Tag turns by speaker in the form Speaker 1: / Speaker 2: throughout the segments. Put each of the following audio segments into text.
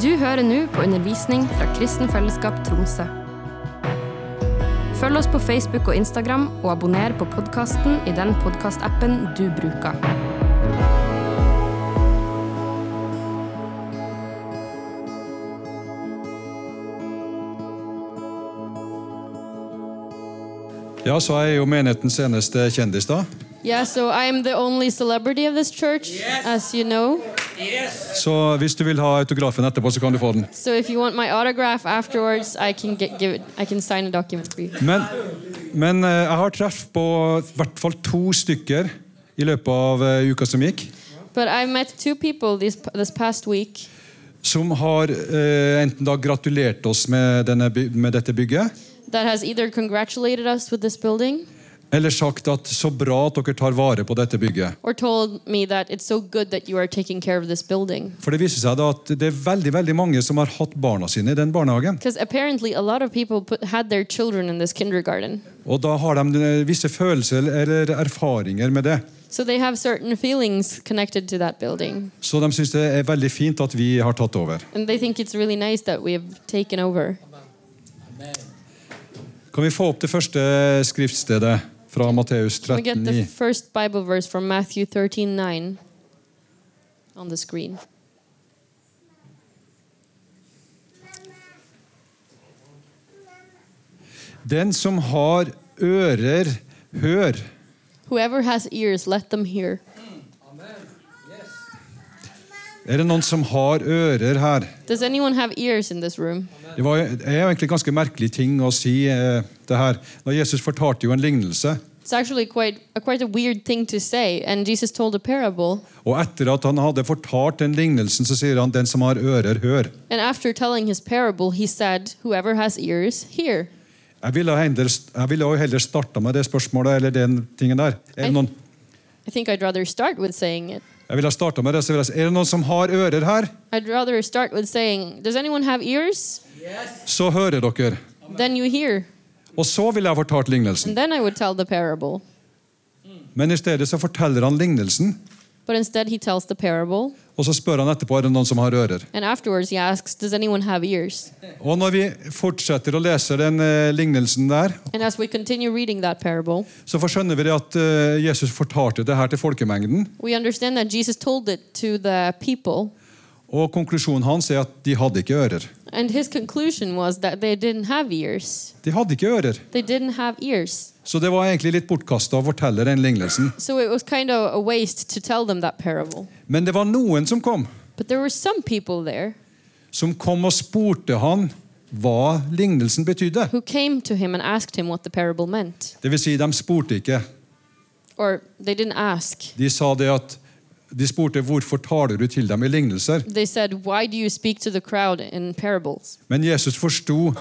Speaker 1: Du hører nå på undervisning fra Kristen Fellesskap Tromsø. Følg oss på Facebook og Instagram, og abonner på podkasten i den podkastappen du bruker.
Speaker 2: Ja, så er jeg jo menighetens eneste kjendis, da.
Speaker 3: Yeah, so I am the only celebrity of this church, as you know.
Speaker 2: Så hvis du vil ha autografen etterpå, så kan du få den.
Speaker 3: So if you want my autograph afterwards, I can get give it. I can sign a document for you.
Speaker 2: Men, men eh, jeg har treff på i hvert fall to stykker i løpet av eh, uka som gikk,
Speaker 3: But I met two people this this past week
Speaker 2: som har eh, enten da gratulert oss med, denne, by- med dette bygget,
Speaker 3: that has either congratulated us with this building
Speaker 2: eller sagt at så bra at dere tar vare på dette bygget.
Speaker 3: or told me that it's so good that you are taking care of this building.
Speaker 2: For det viser seg da at det er veldig veldig mange som har hatt barna sine i den barnehagen.
Speaker 3: Because apparently a lot of people put, had their children in this kindergarten,
Speaker 2: Og da har de eh, visse følelser eller erfaringer med det.
Speaker 3: so they have certain feelings connected to that building,
Speaker 2: Så de syns det er veldig fint at vi har tatt over.
Speaker 3: and they think it's really nice that we have taken over.
Speaker 2: Kan vi få opp det første skriftstedet fra Matteus
Speaker 3: We get the
Speaker 2: 13,9?
Speaker 3: first Bible verse from Matthew 13:9 on the screen.
Speaker 2: Den som har ører, hør.
Speaker 3: Whoever has ears, let them hear.
Speaker 2: Er det noen som har ører her?
Speaker 3: Does anyone have ears in this room?
Speaker 2: Det var, er jo egentlig ganske merkelig ting å si eh, det her. Da Jesus fortalte jo en lignelse.
Speaker 3: It's actually quite a, quite a weird thing to say, and Jesus told a parable.
Speaker 2: Og etter at han hadde fortalt den lignelsen, så sier han 'den som har ører, hør'.
Speaker 3: And after telling his parable, he said, "Whoever has ears, hear."
Speaker 2: Jeg ville, heller, jeg ville jo heller starta med det spørsmålet eller den tingen der. Er det
Speaker 3: Nei.
Speaker 2: noen,
Speaker 3: I think I'd rather start with saying it.
Speaker 2: jeg ville ha startet med det, så ville jeg si, er det noen som har ører her,
Speaker 3: I'd rather start with saying, "Does anyone have ears?"
Speaker 2: så hører dere.
Speaker 3: Then you hear,
Speaker 2: Og så ville jeg fortalt lignelsen.
Speaker 3: and then I would tell the parable.
Speaker 2: Men i stedet så forteller han lignelsen,
Speaker 3: But instead, he tells the parable,
Speaker 2: og så spør han etterpå er det noen som har ører.
Speaker 3: and afterwards he asks, "Does anyone have ears?"
Speaker 2: Og når vi fortsetter å lese den eh, lignelsen der,
Speaker 3: And as we continue reading that parable,
Speaker 2: så får- skjønner vi det at eh, Jesus fortalte det her til folkemengden,
Speaker 3: we understand that Jesus told it to the people,
Speaker 2: og konklusjonen hans er at de hadde ikke ører.
Speaker 3: and his conclusion was that they didn't have ears.
Speaker 2: De hadde ikke ører.
Speaker 3: They didn't have ears.
Speaker 2: Så det var egentlig litt bortkasta å fortelle den lignelsen.
Speaker 3: So it was kind of a waste to tell them that parable.
Speaker 2: Men det var noen som kom,
Speaker 3: But there were some people there
Speaker 2: som kom og spurte han hva lignelsen betydde.
Speaker 3: who came to him and asked him what the parable meant.
Speaker 2: Det vil si, de spurte ikke.
Speaker 3: Or they didn't ask.
Speaker 2: De sa det at de spurte hvorfor taler du til dem i lignelser.
Speaker 3: They said, Why do you speak to the crowd in parables?
Speaker 2: Men Jesus forsto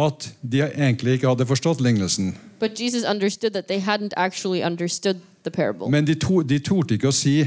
Speaker 2: at de egentlig ikke hadde forstått lignelsen.
Speaker 3: But Jesus understood that they hadn't actually understood the parable.
Speaker 2: Men de, to, de torde ikke å si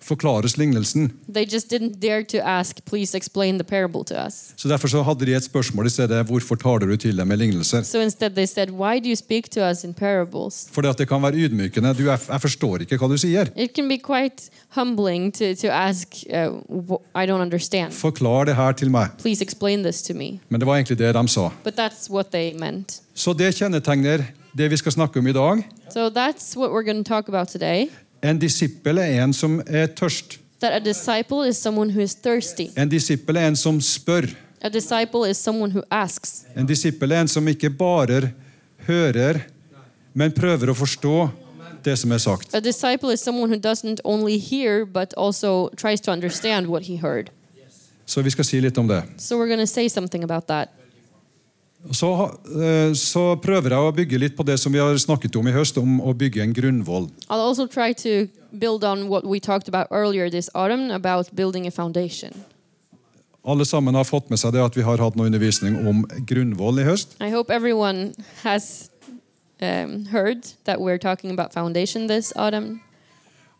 Speaker 2: 'forklares lignelsen'.
Speaker 3: They just didn't dare to ask, Please explain the parable to us.
Speaker 2: Så Derfor så hadde de et spørsmål i stedet 'hvorfor taler du til dem med lignelser'?
Speaker 3: So instead, they said, Why do you speak to us in parables?
Speaker 2: Fordi at det kan være ydmykende. Du, jeg, 'Jeg forstår ikke hva du sier'.
Speaker 3: It can be quite humbling to, to ask, uh, wh- I don't understand.
Speaker 2: Forklar det her til meg.
Speaker 3: Please explain this to me.
Speaker 2: Men det var egentlig det de sa.
Speaker 3: But that's what they meant.
Speaker 2: Så det kjennetegner det vi skal snakke om i dag.
Speaker 3: So that's what we're going to talk about today.
Speaker 2: En disippel er en som er tørst.
Speaker 3: That a disciple is someone who is thirsty.
Speaker 2: En disippel er en som spør.
Speaker 3: A disciple is someone who asks.
Speaker 2: En disippel er en som ikke bare hører, men prøver å forstå det som er sagt.
Speaker 3: A disciple is someone who doesn't only hear, but also tries to understand what he heard.
Speaker 2: Så vi skal si litt om det.
Speaker 3: So we're going to say something about that.
Speaker 2: Så, eh, så prøver jeg å bygge litt på det som vi har snakket om i høst, om å bygge en grunnvoll.
Speaker 3: I'll also try to build on what we talked about earlier this autumn about building a foundation.
Speaker 2: Alle sammen har fått med seg det at vi har hatt noe undervisning om grunnvoll i høst.
Speaker 3: I hope everyone has um, heard that we're talking about foundation this autumn,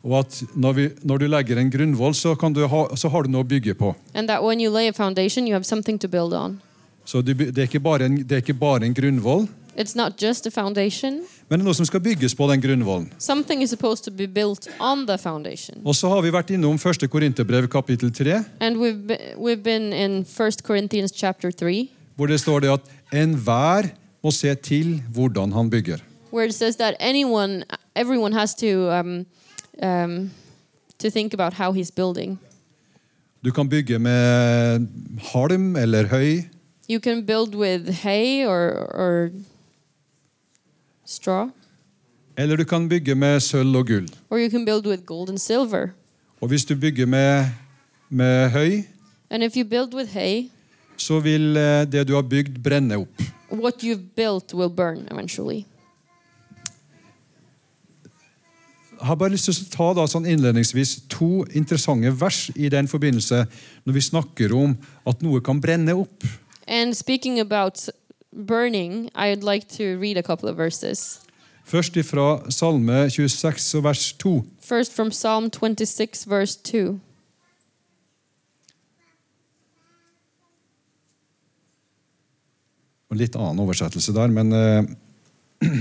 Speaker 2: Og at når, vi, når du legger en grunnvoll, så, kan du ha, så har du noe å bygge på.
Speaker 3: and that when you lay a foundation, you have something to build on.
Speaker 2: Så du, by- det, er ikke bare en, det er ikke bare en grunnvoll,
Speaker 3: It's not just a foundation.
Speaker 2: men det er noe som skal bygges på den grunnvollen.
Speaker 3: Something is supposed to be built on the foundation.
Speaker 2: Og så har vi vært innom 1. Korinterbrev kapittel 3,
Speaker 3: And we've be- we've been in 1 Corinthians chapter 3
Speaker 2: hvor det står det at enhver må se til hvordan han bygger.
Speaker 3: where it says that anyone everyone has to um, um, to think about how he's building.
Speaker 2: Du kan bygge med halm eller høy,
Speaker 3: You can build with hay or or straw
Speaker 2: eller du kan bygge med sølv og gull.
Speaker 3: or you can build with gold and silver.
Speaker 2: Og hvis du bygger med, med høy,
Speaker 3: And if you build with hay,
Speaker 2: så vil eh, det du har bygd, brenne opp.
Speaker 3: what you've built will burn eventually.
Speaker 2: Jeg har bare lyst til å ta da, sånn innledningsvis to interessante vers i den forbindelse, når vi snakker om at noe kan brenne opp.
Speaker 3: And speaking about burning, I'd like to read a couple of verses.
Speaker 2: Først fra Salme 26 og vers 2.
Speaker 3: First from Psalm 26, verse 2.
Speaker 2: En litt annen oversettelse der, men eh,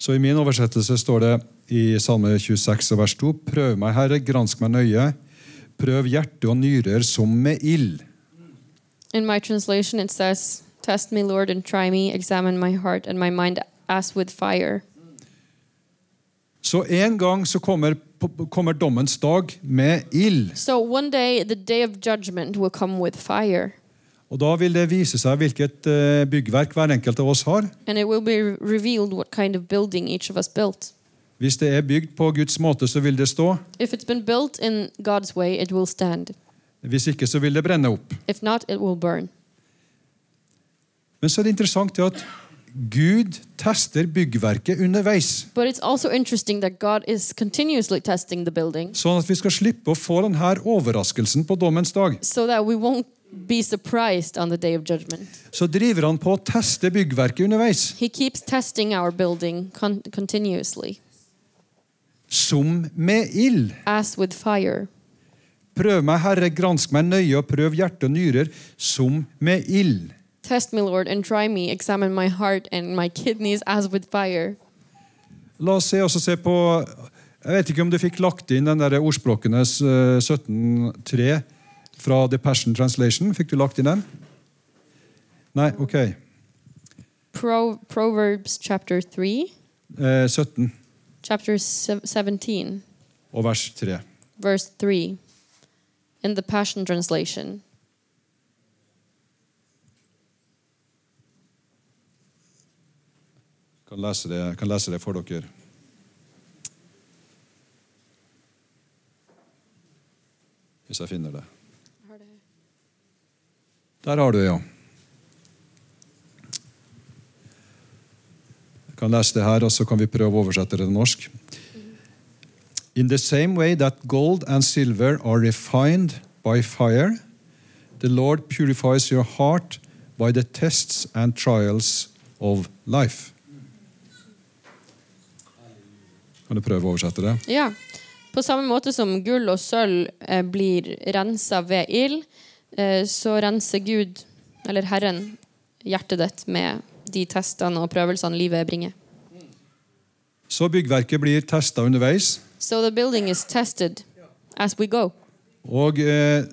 Speaker 2: Så i min oversettelse står det i Salme 26 og vers 2.: Prøv meg, Herre, gransk meg nøye. Prøv hjerte og nyrer som med ild.
Speaker 3: In my translation, it says, Test me, Lord, and try me, examine my heart and my mind as with fire.
Speaker 2: Så en gang så kommer, kommer dommens dag med ild.
Speaker 3: So one day, the day of judgment will come with fire,
Speaker 2: Og da vil det vise seg hvilket eh, byggverk hver enkelt av oss har.
Speaker 3: and it will be revealed what kind of building each of us built.
Speaker 2: Hvis det er bygd på Guds måte, så vil det stå.
Speaker 3: If it's been built in God's way, it will stand.
Speaker 2: Hvis ikke, så vil det brenne opp.
Speaker 3: If not, it will burn.
Speaker 2: Men så er det interessant det at Gud tester byggverket underveis.
Speaker 3: But it's also interesting that God is continuously testing the building
Speaker 2: Sånn at vi skal slippe å få denne overraskelsen på dommens dag.
Speaker 3: so that we won't be surprised on the day of judgment.
Speaker 2: Så driver han på å teste byggverket underveis.
Speaker 3: He keeps testing our building con- continuously,
Speaker 2: Som med ild.
Speaker 3: as with fire.
Speaker 2: Prøv meg, Herre, gransk meg nøye, og prøv hjerte og nyrer som med ild.
Speaker 3: Test me, Lord, and try me. Examine my heart and my kidneys as with fire.
Speaker 2: La oss se, også se på Jeg vet ikke om du fikk lagt inn den der ordspråkenes eh, 17.3 fra The Passion Translation. Fikk du lagt inn den? Nei, OK.
Speaker 3: Pro- Proverbs chapter 3,
Speaker 2: Eh, 17
Speaker 3: chapter sev- 17,
Speaker 2: og vers 3.
Speaker 3: verse 3, in the Passion Translation.
Speaker 2: Kan lese det, kan lese det for dere. Hvis jeg finner det. Der har du det, ja. Jeg kan lese det her, og så kan vi prøve å oversette det til norsk. In the same way that gold and silver are refined by fire, the Lord purifies your heart by the tests and trials of life. Kan du prøve å oversette det?
Speaker 3: Ja. På samme måte som gull og sølv eh, blir rensa ved ild, eh, så renser Gud, eller Herren, hjertet ditt med de testene og prøvelsene livet bringer.
Speaker 2: Så byggverket blir testa underveis.
Speaker 3: So the building is tested as we go.
Speaker 2: Og eh,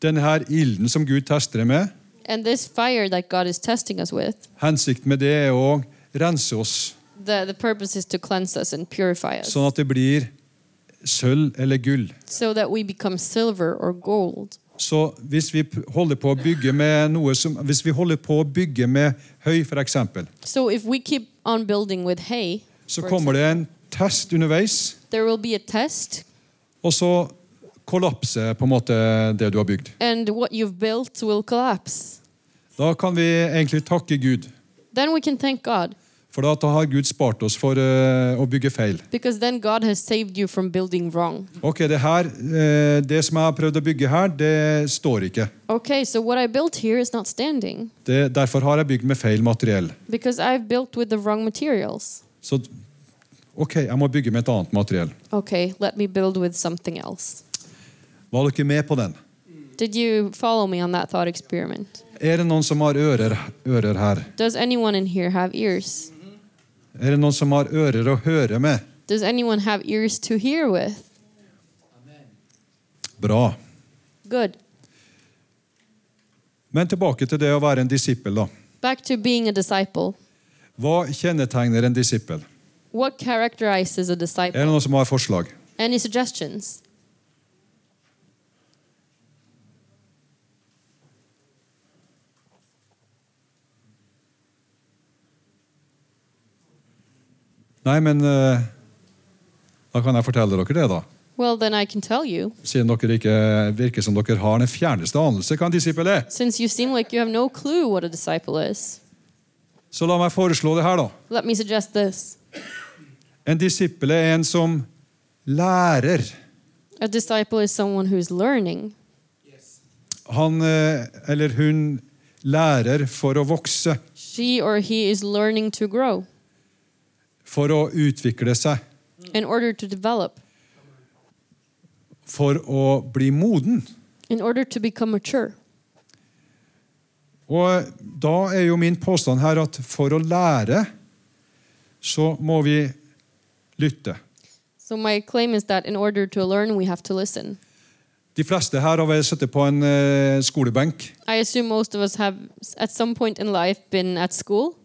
Speaker 2: denne her ilden som Gud tester det med,
Speaker 3: And this fire that God is testing us with,
Speaker 2: hensikten med det er å rense oss,
Speaker 3: the, the purpose is to cleanse us and purify us
Speaker 2: sånn at det blir sølv eller gull.
Speaker 3: so that we become silver or gold.
Speaker 2: Så hvis vi p- holder på å bygge med noe som, hvis vi holder på å bygge med høy, for eksempel,
Speaker 3: So if we keep on building with hay,
Speaker 2: så
Speaker 3: for
Speaker 2: kommer det en test underveis,
Speaker 3: example, there will be a test
Speaker 2: og så kollapser på en måte det du har bygd.
Speaker 3: and what you've built will collapse.
Speaker 2: Da kan vi egentlig takke Gud
Speaker 3: Then we can thank God
Speaker 2: For da- da har Gud spart oss for eh, å bygge feil.
Speaker 3: Because then God has saved you from building wrong.
Speaker 2: Ok, det, her, eh, det som jeg har prøvd å bygge her, det står ikke.
Speaker 3: Okay, so what I built here is not standing
Speaker 2: Det, derfor har jeg bygd med feil materiell.
Speaker 3: because I've built with the wrong materials.
Speaker 2: Så ok, jeg må bygge med et annet materiell.
Speaker 3: Okay, let me build with something else.
Speaker 2: Var dere med på den?
Speaker 3: Did you follow me on that thought experiment?
Speaker 2: Er det noen som har ører, ører her?
Speaker 3: Does anyone in here have ears?
Speaker 2: Er det noen som har ører å høre med?
Speaker 3: Does anyone have ears to hear with?
Speaker 2: Bra.
Speaker 3: Good.
Speaker 2: Men tilbake til det å være en disippel, da.
Speaker 3: Back to being a disciple.
Speaker 2: Hva kjennetegner en disippel?
Speaker 3: What characterizes a
Speaker 2: Er
Speaker 3: disciple?
Speaker 2: det noen som har forslag?
Speaker 3: Any suggestions?
Speaker 2: Nei, men eh, da kan jeg fortelle dere det, da.
Speaker 3: Well, then I can tell you.
Speaker 2: Siden dere ikke virker som dere har den fjerneste anelse hva en disippel er.
Speaker 3: Since you seem like you have no clue what a disciple is,
Speaker 2: Så la meg foreslå det her, da.
Speaker 3: let me suggest this.
Speaker 2: En disippel er en som lærer.
Speaker 3: A disciple is someone who's learning.
Speaker 2: Han eh, eller hun lærer for å vokse,
Speaker 3: She or he is learning to grow
Speaker 2: for å utvikle seg,
Speaker 3: in order to develop,
Speaker 2: for å bli moden.
Speaker 3: in order to become mature.
Speaker 2: Og da er jo min påstand her at for å lære så må vi lytte.
Speaker 3: So, my claim is that in order to learn, we have to listen.
Speaker 2: De fleste her har vel sittet på en eh, skolebenk.
Speaker 3: I assume most of us have, at some point in life, been at school.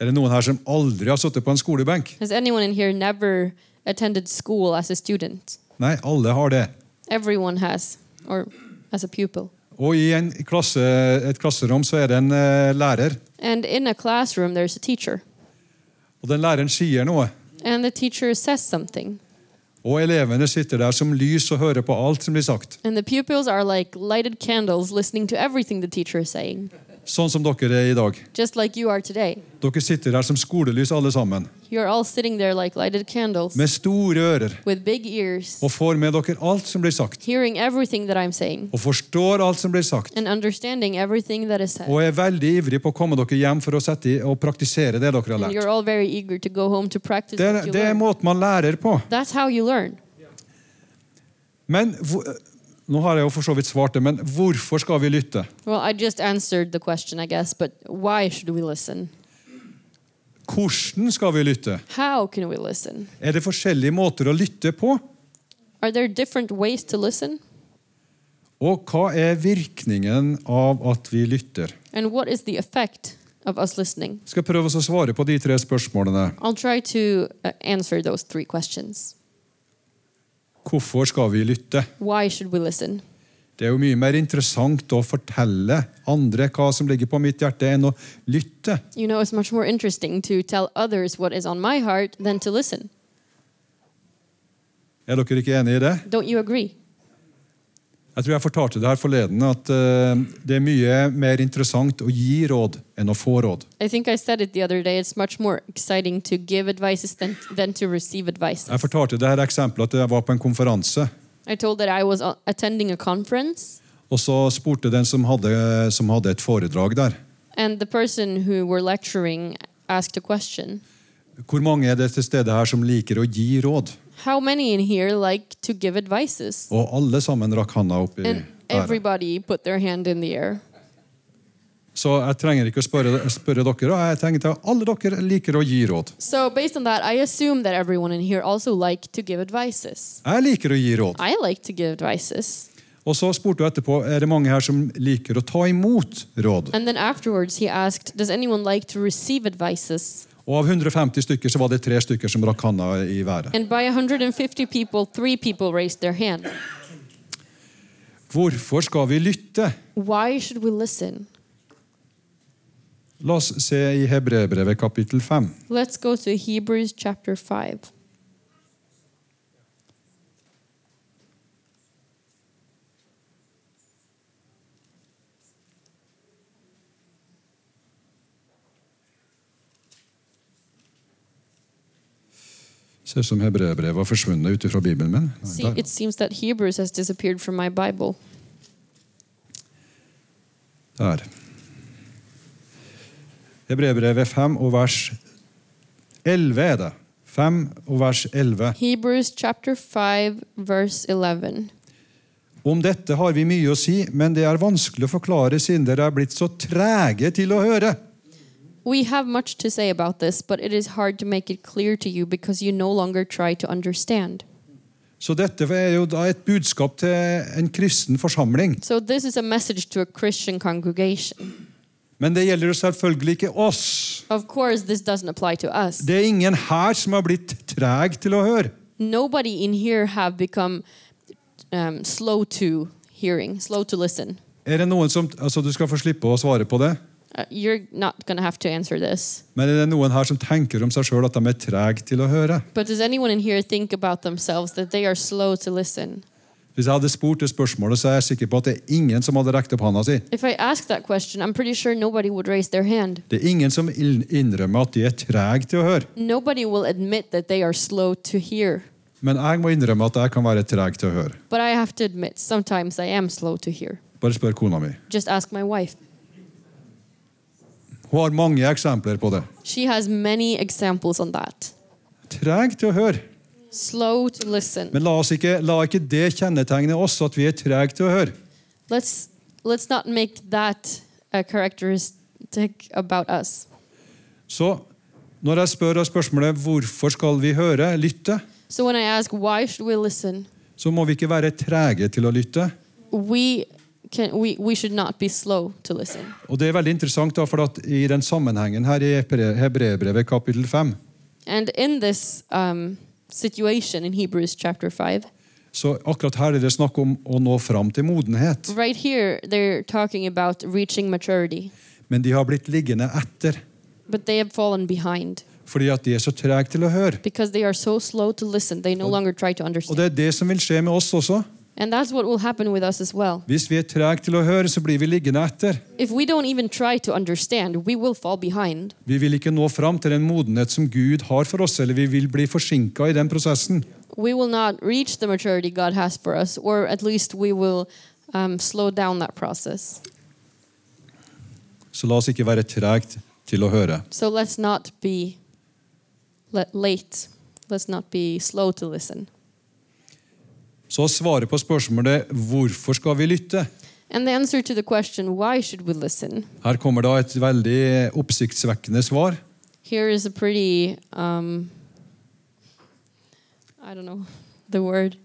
Speaker 2: Er det noen her som aldri har sittet på en skolebenk?
Speaker 3: Has anyone in here never attended school as a student?
Speaker 2: Nei, alle har det.
Speaker 3: Everyone has, or as a pupil.
Speaker 2: Og i en klasse, et klasserom så er det en eh, lærer,
Speaker 3: And in a classroom, there's a teacher.
Speaker 2: og den læreren sier noe.
Speaker 3: And the teacher says something.
Speaker 2: Og elevene sitter der som lys og hører på alt som blir sagt.
Speaker 3: And the pupils are like lighted candles listening to everything the teacher is saying,
Speaker 2: Sånn som dere er i dag.
Speaker 3: just like you are today.
Speaker 2: Dere sitter der som skolelys alle sammen,
Speaker 3: You're all sitting there like lighted candles
Speaker 2: med store ører,
Speaker 3: with big ears,
Speaker 2: og får med dere alt som blir sagt.
Speaker 3: hearing everything that I'm saying
Speaker 2: Og forstår alt som blir sagt.
Speaker 3: and understanding everything that is said.
Speaker 2: Og er veldig ivrig på å komme dere hjem for å sette i og praktisere det dere har
Speaker 3: And you're
Speaker 2: lært.
Speaker 3: all very eager to go home to practice
Speaker 2: Det er,
Speaker 3: what you
Speaker 2: det er
Speaker 3: learn.
Speaker 2: måten man lærer på.
Speaker 3: That's how you learn.
Speaker 2: Men hvor- nå har jeg jo for så vidt svart det, men hvorfor skal vi lytte?
Speaker 3: Well, I just answered the question, I guess, but why should we listen?
Speaker 2: Hvordan skal vi lytte?
Speaker 3: How can we listen?
Speaker 2: Er det forskjellige måter å lytte på?
Speaker 3: Are there different ways to listen?
Speaker 2: Og hva er virkningen av at vi lytter?
Speaker 3: And what is the effect of us listening?
Speaker 2: skal prøve oss å svare på de tre spørsmålene.
Speaker 3: I'll try to uh, answer those three questions.
Speaker 2: Hvorfor skal vi lytte?
Speaker 3: Why should we listen?
Speaker 2: Det er jo mye mer interessant å fortelle andre hva som ligger på mitt hjerte, enn å lytte.
Speaker 3: You know, it's much more interesting to tell others what is on my heart than to listen.
Speaker 2: Er dere ikke enige i det?
Speaker 3: Don't you agree?
Speaker 2: Jeg tror jeg fortalte det her forleden at eh, det er mye mer interessant å gi råd enn å få råd.
Speaker 3: I think I said it the other day. It's much more exciting to give advices than, than to receive advice.
Speaker 2: Jeg fortalte det her eksempelet at jeg var på en konferanse,
Speaker 3: I told that I was uh, attending a conference,
Speaker 2: og så spurte den som hadde, som hadde et foredrag der,
Speaker 3: and the person who were lecturing asked a question
Speaker 2: hvor mange er det til stede her som liker å gi råd?
Speaker 3: How many in here like to give advices?
Speaker 2: Og alle sammen rakk handa opp i
Speaker 3: And
Speaker 2: været.
Speaker 3: everybody put their hand in the air.
Speaker 2: Så jeg trenger ikke å spørre, spørre dere. og Jeg tenkte at alle dere liker å gi råd.
Speaker 3: So, based on that, I assume that everyone in here also like to give advices.
Speaker 2: Jeg liker å gi råd.
Speaker 3: I like to give advices.
Speaker 2: Og så spurte hun etterpå er det mange her som liker å ta imot råd.
Speaker 3: And then afterwards, he asked, Does anyone like to receive advices?
Speaker 2: Og av 150 stykker så var det tre stykker som rakk handa i været.
Speaker 3: And by 150 people, three people raised their hand.
Speaker 2: Hvorfor skal vi lytte?
Speaker 3: Why should we listen?
Speaker 2: La oss se i Hebreerbrevet kapittel 5.
Speaker 3: Let's go to Hebrews chapter 5.
Speaker 2: Ser ut som hebreerbrevet har forsvunnet ut fra Bibelen min. Nei,
Speaker 3: See,
Speaker 2: der.
Speaker 3: it seems that Hebrews has disappeared from my Bible.
Speaker 2: Der. Hebreerbrevet 5 og vers 11 er det. 5 og vers 11.
Speaker 3: Hebrews chapter 5, verse 11.
Speaker 2: Om dette har vi mye å si, men det er vanskelig å forklare siden dere er blitt så trege til å høre.
Speaker 3: We have much to say about this, but it is hard to make it clear to you because you no longer try to understand.
Speaker 2: Så dette er jo da et budskap til en kristen forsamling.
Speaker 3: So, this is a message to a Christian congregation.
Speaker 2: Men det gjelder jo selvfølgelig ikke oss.
Speaker 3: Of course, this doesn't apply to us.
Speaker 2: Det er ingen her som har blitt treg til å høre.
Speaker 3: Nobody in here have become um, slow to hearing, slow to listen.
Speaker 2: Er det noen som, altså Du skal få slippe å svare på det,
Speaker 3: Uh, you're not going to have to answer this.
Speaker 2: men er det noen her som tenker om seg sjøl at de er trege til å høre?
Speaker 3: But does anyone in here think about themselves that they are slow to listen?
Speaker 2: Hvis jeg hadde spurt det spørsmålet, så er jeg sikker på at det er ingen som hadde rekt opp handa si.
Speaker 3: If I ask that question, I'm pretty sure nobody would raise their hand.
Speaker 2: Det er ingen som inn- innrømmer at de er trege til å høre.
Speaker 3: Nobody will admit that they are slow to hear.
Speaker 2: Men jeg må innrømme at jeg kan være treg til å høre.
Speaker 3: But I have to admit, sometimes I am slow to hear.
Speaker 2: Bare spør kona mi.
Speaker 3: Just ask my wife.
Speaker 2: Hun har mange eksempler på det.
Speaker 3: She has many examples on that.
Speaker 2: Treg til å høre.
Speaker 3: Slow to listen.
Speaker 2: Men la, oss ikke, la ikke det kjennetegne oss at vi er trege til å høre.
Speaker 3: Let's let's not make that a characteristic about us.
Speaker 2: Så når jeg spør av spørsmålet hvorfor skal vi høre, lytte,
Speaker 3: So when I ask why should we listen,
Speaker 2: så må vi ikke være trege til å lytte.
Speaker 3: we can we, we should not be slow to listen.
Speaker 2: Og det er veldig interessant, da, for at i den sammenhengen her i Hebre- Hebreerbrevet kapittel 5,
Speaker 3: And in this um, situation in Hebrews chapter 5,
Speaker 2: så akkurat her er det snakk om å nå fram til modenhet.
Speaker 3: right here they're talking about reaching maturity,
Speaker 2: Men de har blitt liggende etter
Speaker 3: but they have fallen behind
Speaker 2: fordi at de er så trege til å høre.
Speaker 3: because they are so slow to listen, they no longer try to
Speaker 2: Og
Speaker 3: understand.
Speaker 2: det er det som vil skje med oss også.
Speaker 3: And that's what will happen with us as well.
Speaker 2: Hvis vi er trege til å høre, så blir vi liggende etter.
Speaker 3: If we don't even try to understand, we will fall behind.
Speaker 2: Vi vil ikke nå fram til den modenhet som Gud har for oss, eller vi vil bli forsinka i den prosessen.
Speaker 3: We will not reach the maturity God has for us, or at least we will um, slow down that process.
Speaker 2: Så la oss ikke være tregt til å høre.
Speaker 3: So let's not be le- late. Let's not be slow to listen.
Speaker 2: Så svaret på spørsmålet 'Hvorfor skal vi lytte?'
Speaker 3: And the answer to the question, why should we listen?
Speaker 2: Her kommer da et veldig oppsiktsvekkende svar.
Speaker 3: Here is a pretty, um, I don't know the word.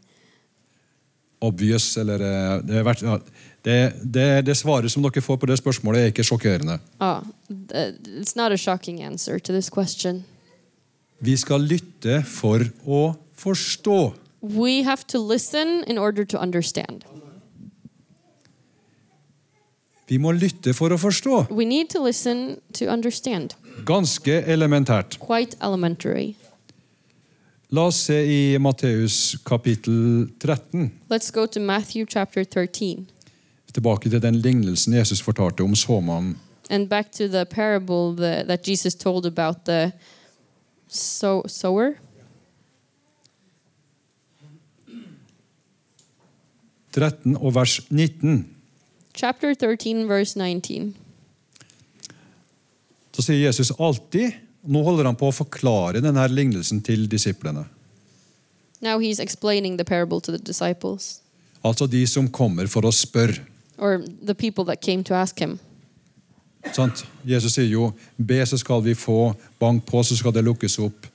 Speaker 2: Obvious, eller eh, Det, er vært- ja, det, det, det svaret som dere får på det spørsmålet, er ikke sjokkerende.
Speaker 3: Ah, th- it's not a shocking answer to this question.
Speaker 2: Vi skal lytte for å forstå.
Speaker 3: We have to listen in order to understand.
Speaker 2: Vi må lytte for å forstå.
Speaker 3: We need to listen to understand.
Speaker 2: Ganske elementært.
Speaker 3: Quite elementary.
Speaker 2: La oss se i Matteus kapittel 13,
Speaker 3: Let's go to Matthew chapter 13
Speaker 2: tilbake til den lignelsen Jesus fortalte om såmannen.
Speaker 3: and back to the parable the, that Jesus told about the sow, sower.
Speaker 2: 13 og vers 19.
Speaker 3: Chapter 13, verse 19.
Speaker 2: Så sier Jesus alltid Nå holder han på å forklare denne lignelsen til disiplene.
Speaker 3: Now he's explaining the parable to the disciples,
Speaker 2: Altså de som kommer for å spørre.
Speaker 3: or the people that came to ask him.
Speaker 2: Sant? Jesus sier jo 'be, så skal vi få', 'bank på, så skal det lukkes opp'.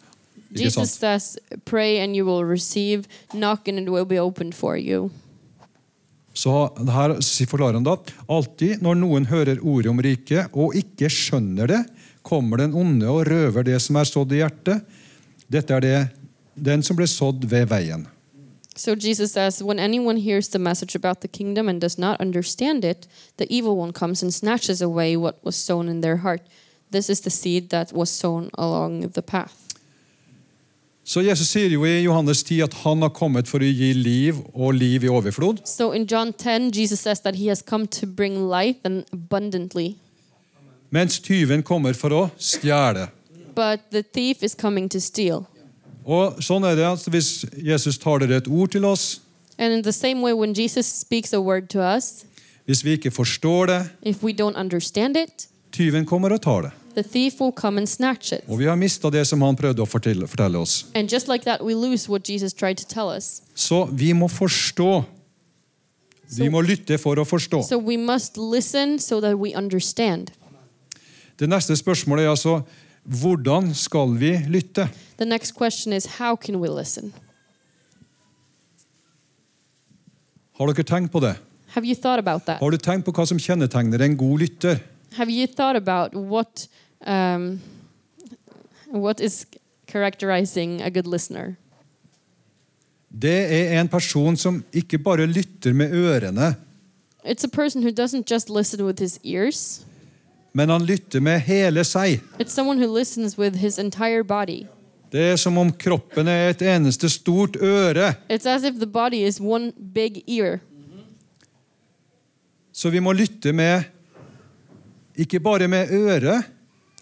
Speaker 2: Ikke
Speaker 3: Jesus
Speaker 2: sant?
Speaker 3: says, Pray and you will receive, knock and it will be opened for you.
Speaker 2: Så her si- forklarer han da alltid når noen hører ordet om riket og ikke skjønner det, kommer den onde og røver det som er sådd i hjertet. Dette er det, den som ble sådd ved veien.
Speaker 3: So Jesus says, When anyone hears the message about the kingdom and does not understand it, the evil one comes and snatches away what was sown in their heart. This is the seed that was sown along the path.
Speaker 2: Så Jesus sier jo i Johannes 10 at han har kommet for å gi liv og liv i overflod.
Speaker 3: So in John 10, Jesus says that he has come to bring life and abundantly,
Speaker 2: Mens tyven kommer for å stjele
Speaker 3: but the thief is coming to steal.
Speaker 2: Og sånn er det at Hvis Jesus taler et ord til oss,
Speaker 3: And in the same way, when Jesus speaks a word to us,
Speaker 2: hvis vi ikke forstår det,
Speaker 3: if we don't understand it,
Speaker 2: tyven kommer og tar det.
Speaker 3: the thief will come and snatch it.
Speaker 2: Og vi har mista det som han prøvde å fortelle, fortelle oss.
Speaker 3: And just like that, we lose what Jesus tried to tell us.
Speaker 2: Så vi må forstå. Vi
Speaker 3: Så-
Speaker 2: må lytte for å forstå.
Speaker 3: So we must listen so that we understand.
Speaker 2: Det neste spørsmålet er altså hvordan skal vi lytte?
Speaker 3: The next question is how can we listen?
Speaker 2: Har dere tenkt på det?
Speaker 3: Have you thought about that?
Speaker 2: Har du tenkt på hva som kjennetegner en god lytter?
Speaker 3: Have you thought about what um, what is characterizing a good listener?
Speaker 2: Det er en person som ikke bare lytter med ørene,
Speaker 3: It's a person who doesn't just listen with his ears.
Speaker 2: men han lytter med hele seg.
Speaker 3: It's someone who listens with his entire body.
Speaker 2: Det er som om kroppen er et eneste stort øre.
Speaker 3: It's as if the body is one big ear.
Speaker 2: Så vi må lytte med ikke bare med øret,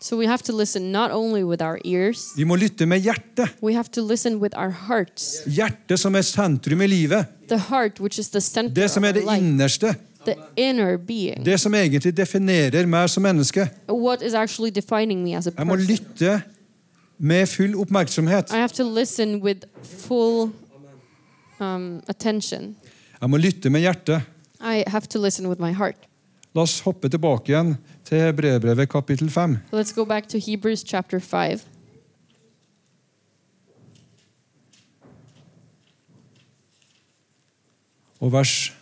Speaker 3: So we have to listen not only with our ears,
Speaker 2: vi må lytte med hjertet.
Speaker 3: we have to listen with our hearts.
Speaker 2: Hjertet som er sentrum i livet.
Speaker 3: The heart, which is the center
Speaker 2: Det
Speaker 3: of
Speaker 2: som
Speaker 3: our
Speaker 2: er det
Speaker 3: life,
Speaker 2: innerste.
Speaker 3: the inner being.
Speaker 2: Det som egentlig definerer meg som menneske.
Speaker 3: What is actually defining me as a
Speaker 2: Jeg må
Speaker 3: person?
Speaker 2: lytte med full oppmerksomhet.
Speaker 3: I have to listen with full um, attention.
Speaker 2: Jeg må lytte med hjertet.
Speaker 3: I have to listen with my heart.
Speaker 2: La oss hoppe tilbake igjen til Hebreerbrevet kapittel 5.
Speaker 3: Let's go back to Hebrews chapter 5.
Speaker 2: og vers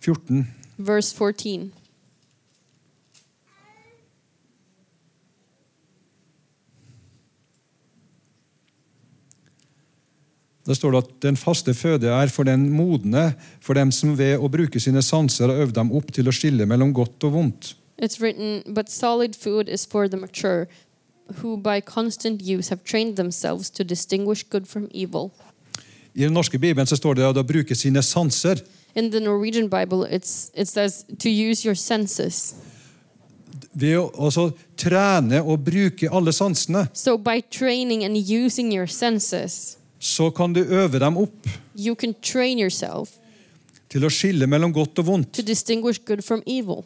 Speaker 2: 14.
Speaker 3: verse 14.
Speaker 2: Der står det at den faste føde er for den modne, for dem som ved å bruke sine sanser har øvd dem opp til å skille mellom godt og vondt.
Speaker 3: It's written, But solid food is for the mature, who by constant use have trained themselves to distinguish good from evil.
Speaker 2: I den norske bibelen så står det at å bruke sine sanser.
Speaker 3: In the Norwegian Bible, it's, it says to use your senses.
Speaker 2: Ved å altså, trene og bruke alle sansene,
Speaker 3: So by training and using your senses,
Speaker 2: så kan du øve dem opp
Speaker 3: you can train yourself
Speaker 2: til å skille mellom godt og vondt.
Speaker 3: to distinguish good from evil.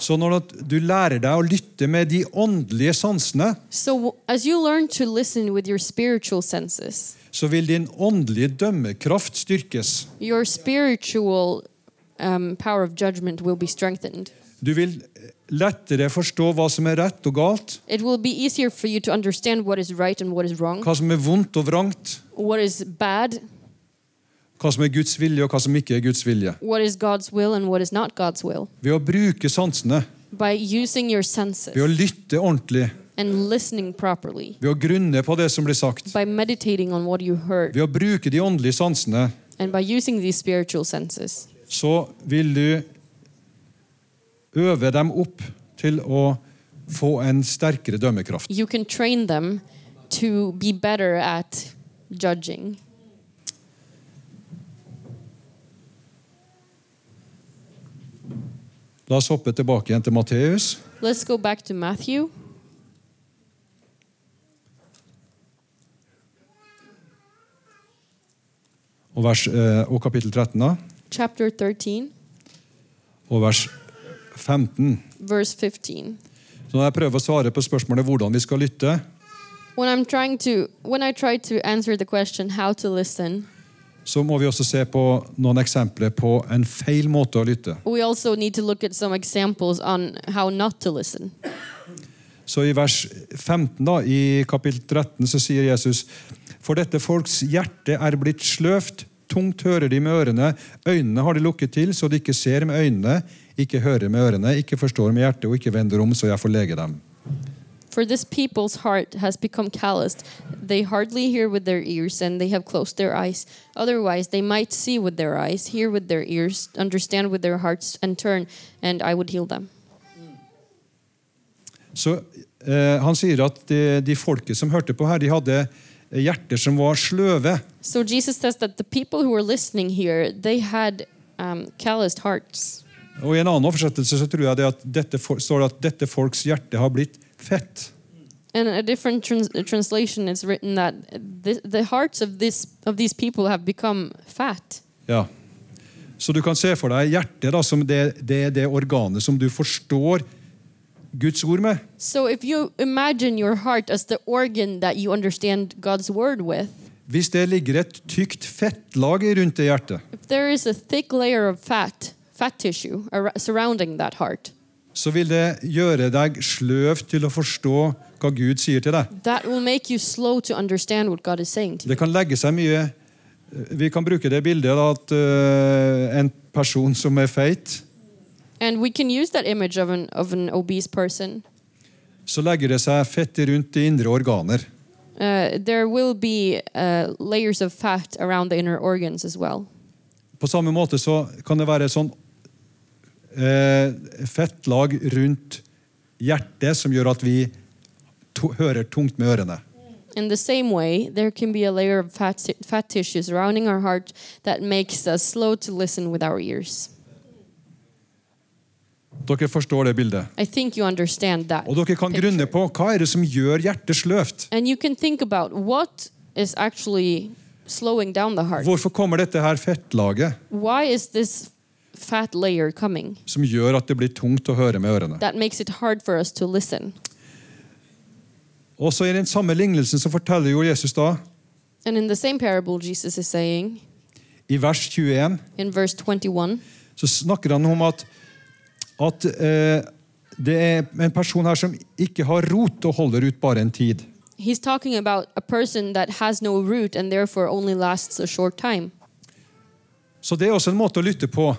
Speaker 2: Så når at du lærer deg å lytte med de åndelige sansene,
Speaker 3: So as you learn to listen with your spiritual senses,
Speaker 2: så vil din åndelige dømmekraft styrkes.
Speaker 3: your spiritual um, power of judgment will be strengthened.
Speaker 2: Du vil eh, lettere forstå hva som er rett og galt,
Speaker 3: It will be easier for you to understand what is right and what is wrong,
Speaker 2: hva som er vondt og vrangt,
Speaker 3: what is bad,
Speaker 2: hva som er Guds vilje og hva som ikke er Guds vilje.
Speaker 3: what is God's will, and what is not God's will.
Speaker 2: Ved å bruke sansene,
Speaker 3: By using your
Speaker 2: ved å
Speaker 3: senses
Speaker 2: lytte ordentlig,
Speaker 3: and listening properly,
Speaker 2: ved å grunne på det som blir sagt,
Speaker 3: by meditating on what you heard,
Speaker 2: ved å bruke de åndelige sansene,
Speaker 3: and by using these spiritual senses,
Speaker 2: så vil du øve dem opp til å få en sterkere dømmekraft.
Speaker 3: you can train them to be better at judging.
Speaker 2: La oss hoppe tilbake igjen til Matteus.
Speaker 3: Let's go back to Matthew.
Speaker 2: Og, vers, eh, og kapittel 13 da,
Speaker 3: chapter 13,
Speaker 2: og vers 15.
Speaker 3: verse 15.
Speaker 2: Så når jeg prøver å svare på spørsmålet hvordan vi skal lytte,
Speaker 3: When I'm trying to when I try to answer the question how to listen,
Speaker 2: så må vi også se på noen eksempler på en feil måte å lytte.
Speaker 3: we also need to look at some examples on how not to listen.
Speaker 2: Så i vers 15 da, i kapittel 13 så sier Jesus For dette folks hjerte er blitt sløvt, tungt hører de med ørene, øynene har de lukket til, så de ikke ser med øynene, ikke hører med ørene, ikke forstår med hjertet og ikke vender om, så jeg får lege dem.
Speaker 3: For this people's heart has become calloused. They hardly hear with their ears and they have closed their eyes. Otherwise they might see with their eyes, hear with their ears, understand with their hearts and turn and I would heal them.
Speaker 2: Så eh, han sier at de, de folket som hørte på her, de hadde hjerter som var sløve.
Speaker 3: So Jesus says that the people who were listening here, they had um, calloused hearts.
Speaker 2: Og I en annen oversettelse så tror jeg det at dette, fol- står det at dette folks hjerte har blitt fett.
Speaker 3: In a different trans- uh, translation, it's written that the, the hearts of this of these people have become fat.
Speaker 2: Ja. Så du kan se for deg hjertet da, som det, det er det organet som du forstår Guds ord med.
Speaker 3: So if you imagine your heart as the organ that you understand God's word with,
Speaker 2: Hvis det ligger et tykt fettlag rundt det hjertet,
Speaker 3: if there is a thick layer of fat, fat tissue ar- surrounding that heart,
Speaker 2: så vil det gjøre deg sløv til å forstå hva Gud sier til deg.
Speaker 3: that will make you slow to understand what God is saying to you.
Speaker 2: Det kan legge seg mye Vi kan bruke det bildet da, at øh, en person som er feit,
Speaker 3: And we can use that image of an of an obese person.
Speaker 2: så legger det seg fett rundt de indre organer.
Speaker 3: Uh, there will be uh, layers of fat around the inner organs as well.
Speaker 2: På samme måte så kan det være sånn eh, fettlag rundt hjertet som gjør at vi to hører tungt med ørene.
Speaker 3: In the same way, there can be a layer of fat, ti- fat tissue surrounding our heart that makes us slow to listen with our ears.
Speaker 2: Dere forstår det bildet.
Speaker 3: I think you understand that.
Speaker 2: Og dere kan
Speaker 3: picture.
Speaker 2: grunne på hva er det som gjør hjertet sløvt.
Speaker 3: And you can think about what is actually slowing down the heart.
Speaker 2: Hvorfor kommer dette her fettlaget
Speaker 3: Why is this fat layer coming
Speaker 2: som gjør at det blir tungt å høre med ørene?
Speaker 3: that makes it hard for us to listen?
Speaker 2: Også I den samme lignelsen så forteller jo Jesus da,
Speaker 3: And in the same parable, Jesus is saying
Speaker 2: i vers 21,
Speaker 3: in verse 21
Speaker 2: så snakker han om at, at eh, det er en person her som ikke har rot og holder ut bare en tid.
Speaker 3: He's talking about a person that has no root and therefore only lasts a short time.
Speaker 2: Så det er også en måte å lytte på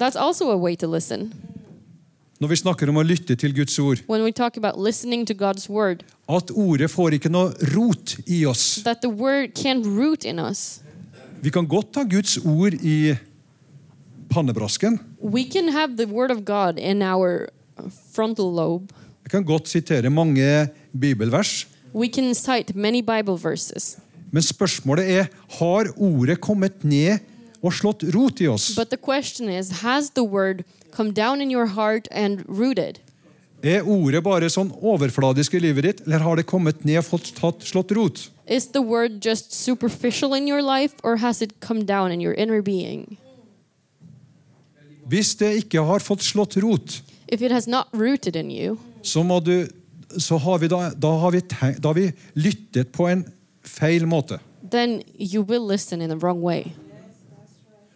Speaker 3: That's also a way to listen.
Speaker 2: når vi snakker om å lytte til Guds ord.
Speaker 3: When we talk about listening to God's word,
Speaker 2: At ordet får ikke noe rot i oss.
Speaker 3: that the word can't root in us.
Speaker 2: Vi kan godt ta Guds ord i pannebrasken.
Speaker 3: We can have the word of God in our frontal lobe.
Speaker 2: Jeg kan godt sitere mange bibelvers.
Speaker 3: We can cite many Bible verses.
Speaker 2: Men spørsmålet er har ordet kommet ned og slått rot i oss.
Speaker 3: But the question is has the word come down in your heart and rooted?
Speaker 2: Er ordet bare sånn overfladisk i livet ditt, eller har det kommet ned og fått tatt, slått rot?
Speaker 3: Is the word just superficial in your life or has it come down in your inner being?
Speaker 2: Hvis det ikke har fått slått rot,
Speaker 3: If it has not rooted in you,
Speaker 2: så, må du, så har vi da, da, har vi tenk, da har vi lyttet på en feil måte.
Speaker 3: then you will listen in the wrong way.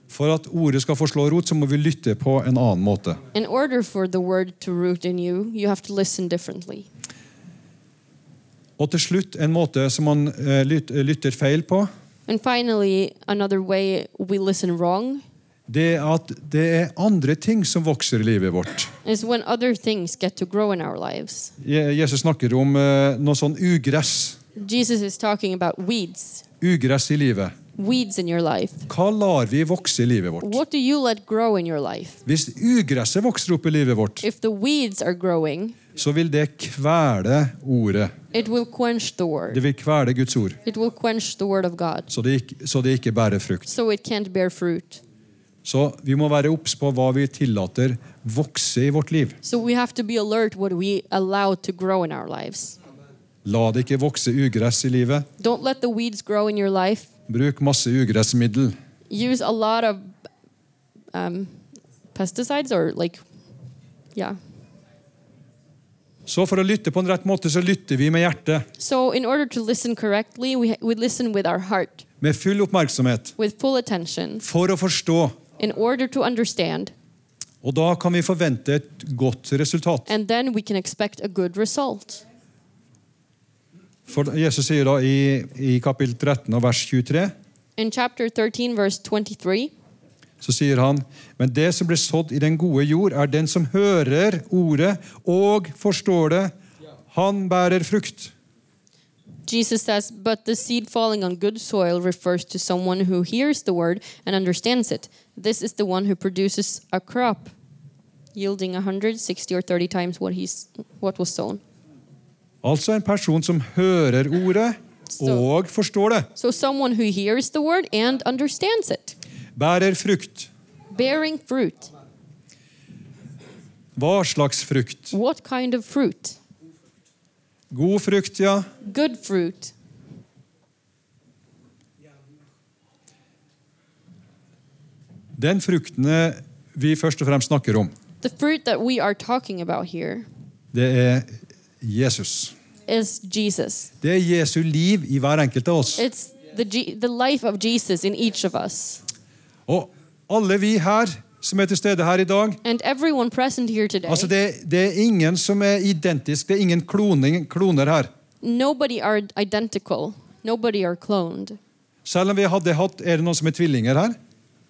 Speaker 2: For at ordet skal få slå rot, så må vi lytte på en annen måte.
Speaker 3: In order for the word to root in you, you have to listen differently.
Speaker 2: Og til slutt en måte som man eh, lyt- lytter feil på,
Speaker 3: And finally, another way we listen wrong
Speaker 2: det er at det er andre ting som vokser i livet vårt.
Speaker 3: is when other things get to grow in our lives.
Speaker 2: Je- Jesus snakker om eh, noe sånn ugress.
Speaker 3: Jesus is talking about weeds,
Speaker 2: Ugress i livet.
Speaker 3: weeds in your life.
Speaker 2: Hva lar vi vokse i livet vårt?
Speaker 3: What do you let grow in your life?
Speaker 2: Hvis ugresset vokser opp i livet vårt,
Speaker 3: If the weeds are growing,
Speaker 2: så vil det kvele ordet.
Speaker 3: it will quench the
Speaker 2: Det
Speaker 3: word.
Speaker 2: vil kvele Guds ord,
Speaker 3: It will quench the word of God,
Speaker 2: så det ikke, så det ikke bærer frukt.
Speaker 3: so it can't bear fruit.
Speaker 2: Så vi må være obs på hva vi tillater vokse i vårt liv.
Speaker 3: So we have to be alert what we allow to grow in our lives.
Speaker 2: La det ikke vokse ugress i livet.
Speaker 3: Don't let the weeds grow in your life.
Speaker 2: Bruk masse ugressmiddel.
Speaker 3: Use a lot of um, pesticides or like, yeah.
Speaker 2: Så for å lytte på en rett måte, så lytter vi med hjertet.
Speaker 3: So in order to listen correctly, we, we listen with our heart,
Speaker 2: Med full oppmerksomhet.
Speaker 3: with full attention,
Speaker 2: For å forstå.
Speaker 3: in order to understand,
Speaker 2: Og da kan vi forvente et godt resultat.
Speaker 3: and then we can expect a good result.
Speaker 2: For Jesus sier da i, i kapittel 13 og vers 23
Speaker 3: In chapter 13, verse 23,
Speaker 2: så sier han, men det som blir sådd i den gode jord, er den som hører ordet og forstår det. Han bærer frukt.
Speaker 3: Jesus says, But the seed falling on good soil refers to someone who hears the word and understands it. This is the one who produces a crop yielding 160 or 30 times what, he's, what was sown.
Speaker 2: Altså en person som hører ordet
Speaker 3: Så-
Speaker 2: og forstår det,
Speaker 3: So, someone who hears the word and understands it,
Speaker 2: bærer frukt.
Speaker 3: bearing fruit.
Speaker 2: Hva slags frukt?
Speaker 3: What kind of fruit?
Speaker 2: God frukt, ja.
Speaker 3: Good fruit.
Speaker 2: Den fruktene vi først og fremst snakker om,
Speaker 3: The fruit that we are talking about here
Speaker 2: det er Jesus.
Speaker 3: is Jesus.
Speaker 2: Det er Jesu liv i hver enkelt av oss.
Speaker 3: It's the, G- the life of Jesus in each of us.
Speaker 2: Og alle vi her som er til stede her i dag
Speaker 3: And everyone present here today,
Speaker 2: altså det, det er ingen som er identisk, det er ingen kloning, kloner her.
Speaker 3: nobody are identical. Nobody are cloned.
Speaker 2: Selv om vi hadde hatt Er det noen som er tvillinger her?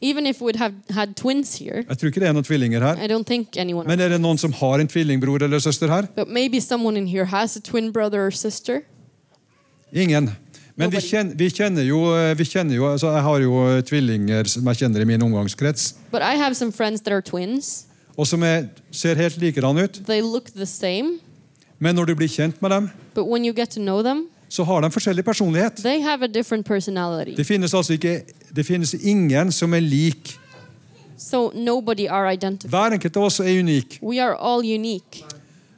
Speaker 3: Even if we'd have had twins here,
Speaker 2: Jeg tror ikke det er noen tvillinger her.
Speaker 3: I don't think anyone.
Speaker 2: Men er det noen som har en tvillingbror eller søster her?
Speaker 3: but maybe someone in here has a twin brother or sister.
Speaker 2: Ingen. Men vi
Speaker 3: Nobody.
Speaker 2: kjenner, vi kjenner jo, vi kjenner jo altså Jeg har jo tvillinger som jeg kjenner i min omgangskrets,
Speaker 3: But I have some friends that are twins.
Speaker 2: og som er, ser helt likedan ut.
Speaker 3: They look the same,
Speaker 2: Men når du blir kjent med dem,
Speaker 3: but when you get to know them,
Speaker 2: så har de forskjellig personlighet.
Speaker 3: they have a different personality.
Speaker 2: Det finnes altså ikke, det finnes ingen som er lik.
Speaker 3: So nobody are identical.
Speaker 2: Hver enkelt av oss er unik.
Speaker 3: We are all unique.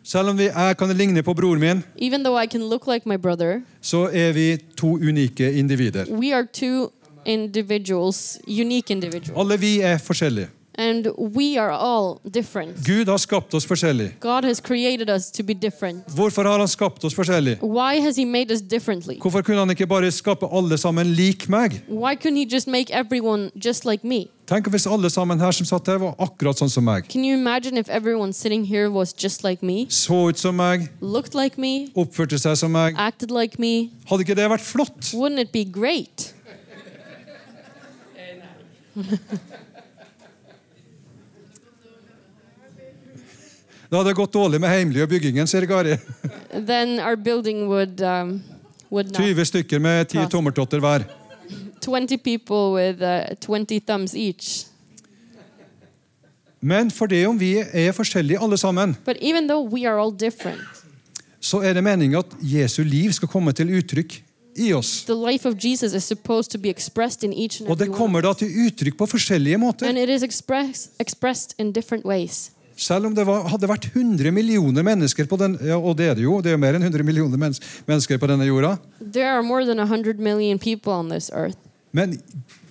Speaker 2: Selv om vi, jeg kan ligne på broren min,
Speaker 3: Even though I can look like my brother,
Speaker 2: så er vi to unike individer.
Speaker 3: we are two individuals, unique individuals.
Speaker 2: Alle vi er forskjellige.
Speaker 3: And we are all different.
Speaker 2: Gud har skapt oss forskjellig.
Speaker 3: God has created us to be different.
Speaker 2: Hvorfor har han skapt oss forskjellig?
Speaker 3: Why has He made us differently?
Speaker 2: Hvorfor kunne han ikke bare skape alle sammen lik meg?
Speaker 3: Why couldn't He just make everyone just like me?
Speaker 2: Tenk hvis alle sammen her som satt her, var akkurat sånn som meg.
Speaker 3: Can you imagine if everyone sitting here was just like me,
Speaker 2: Så ut som meg,
Speaker 3: looked like me,
Speaker 2: oppførte seg som meg.
Speaker 3: acted like me?
Speaker 2: Hadde ikke det vært flott?
Speaker 3: Wouldn't it be great?
Speaker 2: Det hadde gått dårlig med heimlige og byggingen, sier Gari.
Speaker 3: Then our building would um, would not
Speaker 2: 20 stykker med 10 tommeltotter hver.
Speaker 3: 20 people with uh, 20 thumbs each.
Speaker 2: Men for det om vi er forskjellige alle sammen,
Speaker 3: But even though we are all different,
Speaker 2: så er det meningen at Jesu liv skal komme til uttrykk i oss.
Speaker 3: the life of Jesus is supposed to be expressed in each and
Speaker 2: Og
Speaker 3: every
Speaker 2: det
Speaker 3: one.
Speaker 2: kommer da til uttrykk på forskjellige måter.
Speaker 3: And it is express, expressed in different ways.
Speaker 2: Selv om det var, hadde vært 100 millioner mennesker på den, ja, og det er det jo, det er jo mer enn 100 millioner mennes- mennesker på denne jorda,
Speaker 3: There are more than 100 million people on this earth,
Speaker 2: men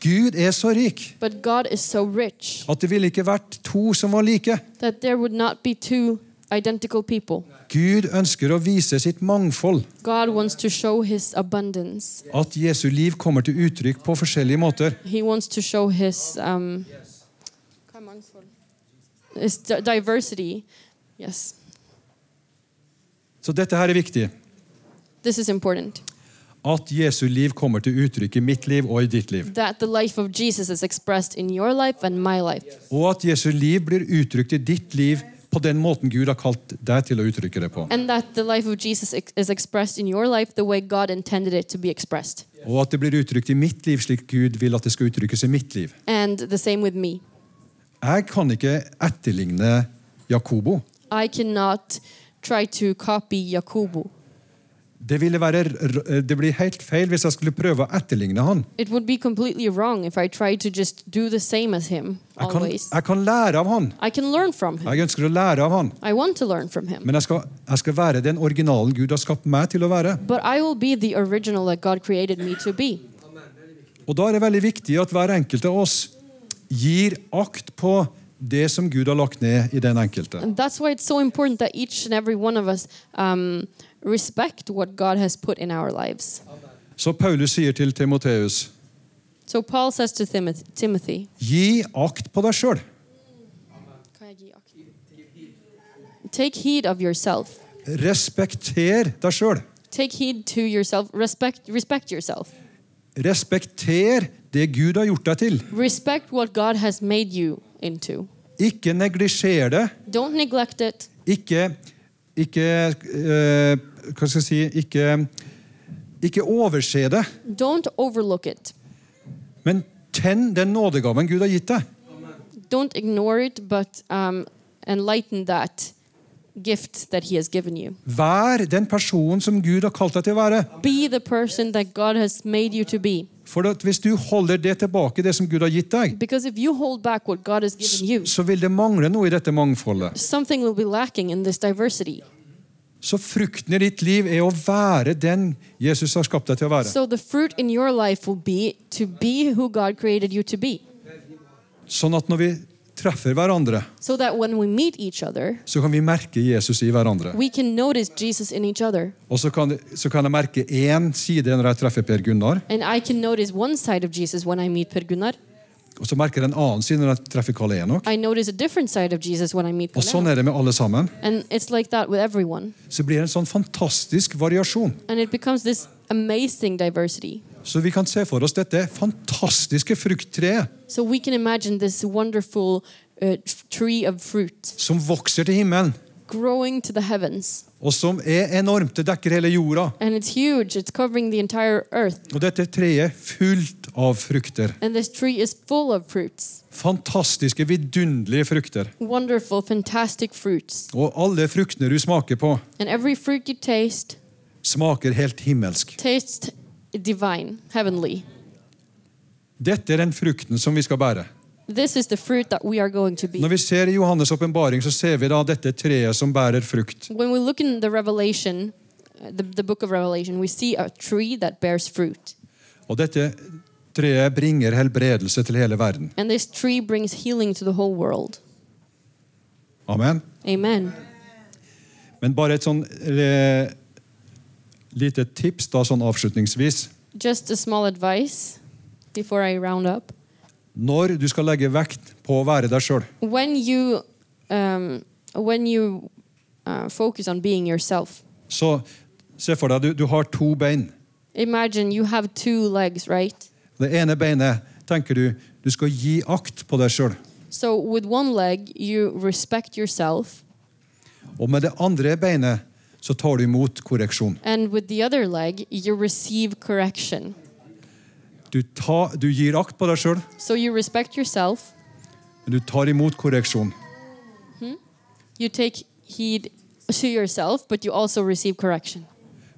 Speaker 2: Gud er så rik
Speaker 3: but God is so rich
Speaker 2: at det ville ikke vært to som var like.
Speaker 3: that there would not be two identical people.
Speaker 2: Gud ønsker å vise sitt mangfold,
Speaker 3: God wants to show his abundance.
Speaker 2: at Jesu liv kommer til uttrykk på forskjellige måter.
Speaker 3: He wants to show his um, his di- diversity. Yes,
Speaker 2: Så dette her er viktig,
Speaker 3: this is important.
Speaker 2: at Jesu liv kommer til uttrykk i mitt liv og i ditt liv.
Speaker 3: That the life of Jesus is expressed in your life and my life,
Speaker 2: Og at Jesu liv blir uttrykt i ditt liv på den måten Gud har kalt deg til å uttrykke det på.
Speaker 3: and that the life of Jesus ex- is expressed in your life the way God intended it to be expressed,
Speaker 2: Og at det blir uttrykt i mitt liv slik Gud vil at det skal uttrykkes i mitt liv.
Speaker 3: and the same with me.
Speaker 2: Jeg kan ikke etterligne Jakobo.
Speaker 3: I cannot try to copy Yakubu.
Speaker 2: Det, ville være, r- det blir helt feil hvis jeg skulle prøve å etterligne han.
Speaker 3: It would be completely wrong if I tried to just do the same as him
Speaker 2: Jeg kan,
Speaker 3: always.
Speaker 2: jeg kan lære av han.
Speaker 3: I can learn from him.
Speaker 2: Jeg ønsker å lære av han.
Speaker 3: I want to learn from him.
Speaker 2: Men jeg skal, jeg skal være den originalen Gud har skapt meg til å være.
Speaker 3: But I will be the original that God created me to be.
Speaker 2: Og da er det veldig viktig at hver enkelt av oss gir akt på det som Gud har lagt ned i den enkelte.
Speaker 3: And that's why it's so important that each and every one of us um, respect what God has put in our lives.
Speaker 2: Så Paulus sier til Timoteus,
Speaker 3: So Paul says to Timoth- Timothy,
Speaker 2: gi akt på deg sjøl.
Speaker 3: Take heed of yourself.
Speaker 2: Respekter deg sjøl.
Speaker 3: Take heed to yourself. Respect, respect yourself.
Speaker 2: Respekter det Gud har gjort deg til.
Speaker 3: Respect what God has made you into.
Speaker 2: Ikke neglisjer det.
Speaker 3: Don't neglect it.
Speaker 2: Ikke ikke, eh, hva skal jeg si, ikke, ikke overse det,
Speaker 3: Don't overlook it.
Speaker 2: men tenn den nådegaven Gud har gitt deg.
Speaker 3: Don't ignore it, but um, enlighten that gift that He has given you.
Speaker 2: Vær den personen som Gud har kalt deg til å være.
Speaker 3: Be the person that God has made you to be.
Speaker 2: For at hvis du holder det tilbake, det som Gud har gitt deg,
Speaker 3: Because if you hold back what God has given you,
Speaker 2: så vil det mangle noe i dette mangfoldet.
Speaker 3: something will be lacking in this diversity.
Speaker 2: Så frukten i ditt liv er å være den Jesus har skapt deg til å være.
Speaker 3: So the fruit in your life will be to be who God created you to be.
Speaker 2: Sånn at når vi treffer hverandre,
Speaker 3: So that when we meet each other,
Speaker 2: så kan vi merke Jesus i hverandre.
Speaker 3: we can notice Jesus in each other.
Speaker 2: Og så kan, så kan jeg merke én side når jeg treffer Per Gunnar,
Speaker 3: And I can notice one side of Jesus when I meet Per Gunnar.
Speaker 2: og så merker jeg en annen side når jeg treffer Karl Enok.
Speaker 3: I notice a different side of Jesus when I meet
Speaker 2: Og sånn
Speaker 3: Kalena.
Speaker 2: er det med alle sammen.
Speaker 3: And it's like that with everyone.
Speaker 2: Så blir det en sånn fantastisk variasjon.
Speaker 3: And it becomes this amazing diversity.
Speaker 2: Så vi kan se for oss dette fantastiske frukttreet
Speaker 3: So we can imagine this wonderful uh, f- tree of fruit
Speaker 2: som vokser til himmelen,
Speaker 3: growing to the heavens.
Speaker 2: og som er enormt. Det dekker hele jorda.
Speaker 3: And it's huge, it's covering the entire earth.
Speaker 2: Og dette treet er fullt av frukter.
Speaker 3: And this tree is full of fruits
Speaker 2: Fantastiske, vidunderlige frukter.
Speaker 3: wonderful, fantastic fruits.
Speaker 2: Og alle fruktene du smaker på,
Speaker 3: And every fruit you taste
Speaker 2: smaker helt himmelsk.
Speaker 3: tastes divine, heavenly.
Speaker 2: Dette er den frukten som vi skal bære.
Speaker 3: This is the fruit that we are going to be.
Speaker 2: Når vi ser i Johannes' åpenbaring, så ser vi da dette treet som bærer frukt.
Speaker 3: When we look in the Revelation, uh, the, the book of Revelation, we see a tree that bears fruit.
Speaker 2: Og dette treet bringer helbredelse til hele verden.
Speaker 3: And this tree brings healing to the whole world.
Speaker 2: Amen.
Speaker 3: Amen.
Speaker 2: Men bare et sånn eh, lite tips da, sånn avslutningsvis.
Speaker 3: Just a small advice before I round up.
Speaker 2: Når du skal legge vekt på å være deg sjøl,
Speaker 3: When you, um, when you uh, focus on being yourself,
Speaker 2: så se for deg du, du har to bein.
Speaker 3: imagine you have two legs, right?
Speaker 2: Det ene beinet tenker du du skal gi akt på deg sjøl.
Speaker 3: So with one leg, you respect yourself,
Speaker 2: Og med det andre beinet så tar du imot korreksjon.
Speaker 3: and with the other leg, you receive correction.
Speaker 2: Du, ta, du gir akt på deg sjøl,
Speaker 3: So you respect yourself,
Speaker 2: men du tar imot korreksjon.
Speaker 3: you take heed to yourself, but you also receive correction.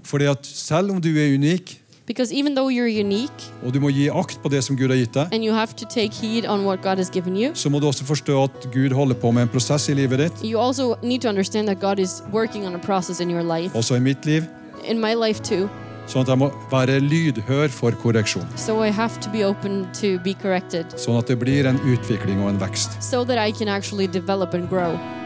Speaker 2: Fordi at selv om du er unik,
Speaker 3: Because even though you're unique
Speaker 2: og du må gi akt på det som Gud har gitt deg,
Speaker 3: and you have to take heed on what God has given you,
Speaker 2: så må du også forstå at Gud holder på med en prosess i livet ditt,
Speaker 3: you also need to understand that God is working on a process in your life,
Speaker 2: også i mitt liv,
Speaker 3: in my life too.
Speaker 2: sånn at jeg må være lydhør for korreksjon.
Speaker 3: So I have to be open to be corrected
Speaker 2: Sånn at det blir en utvikling og en vekst.
Speaker 3: so that I can actually develop and grow.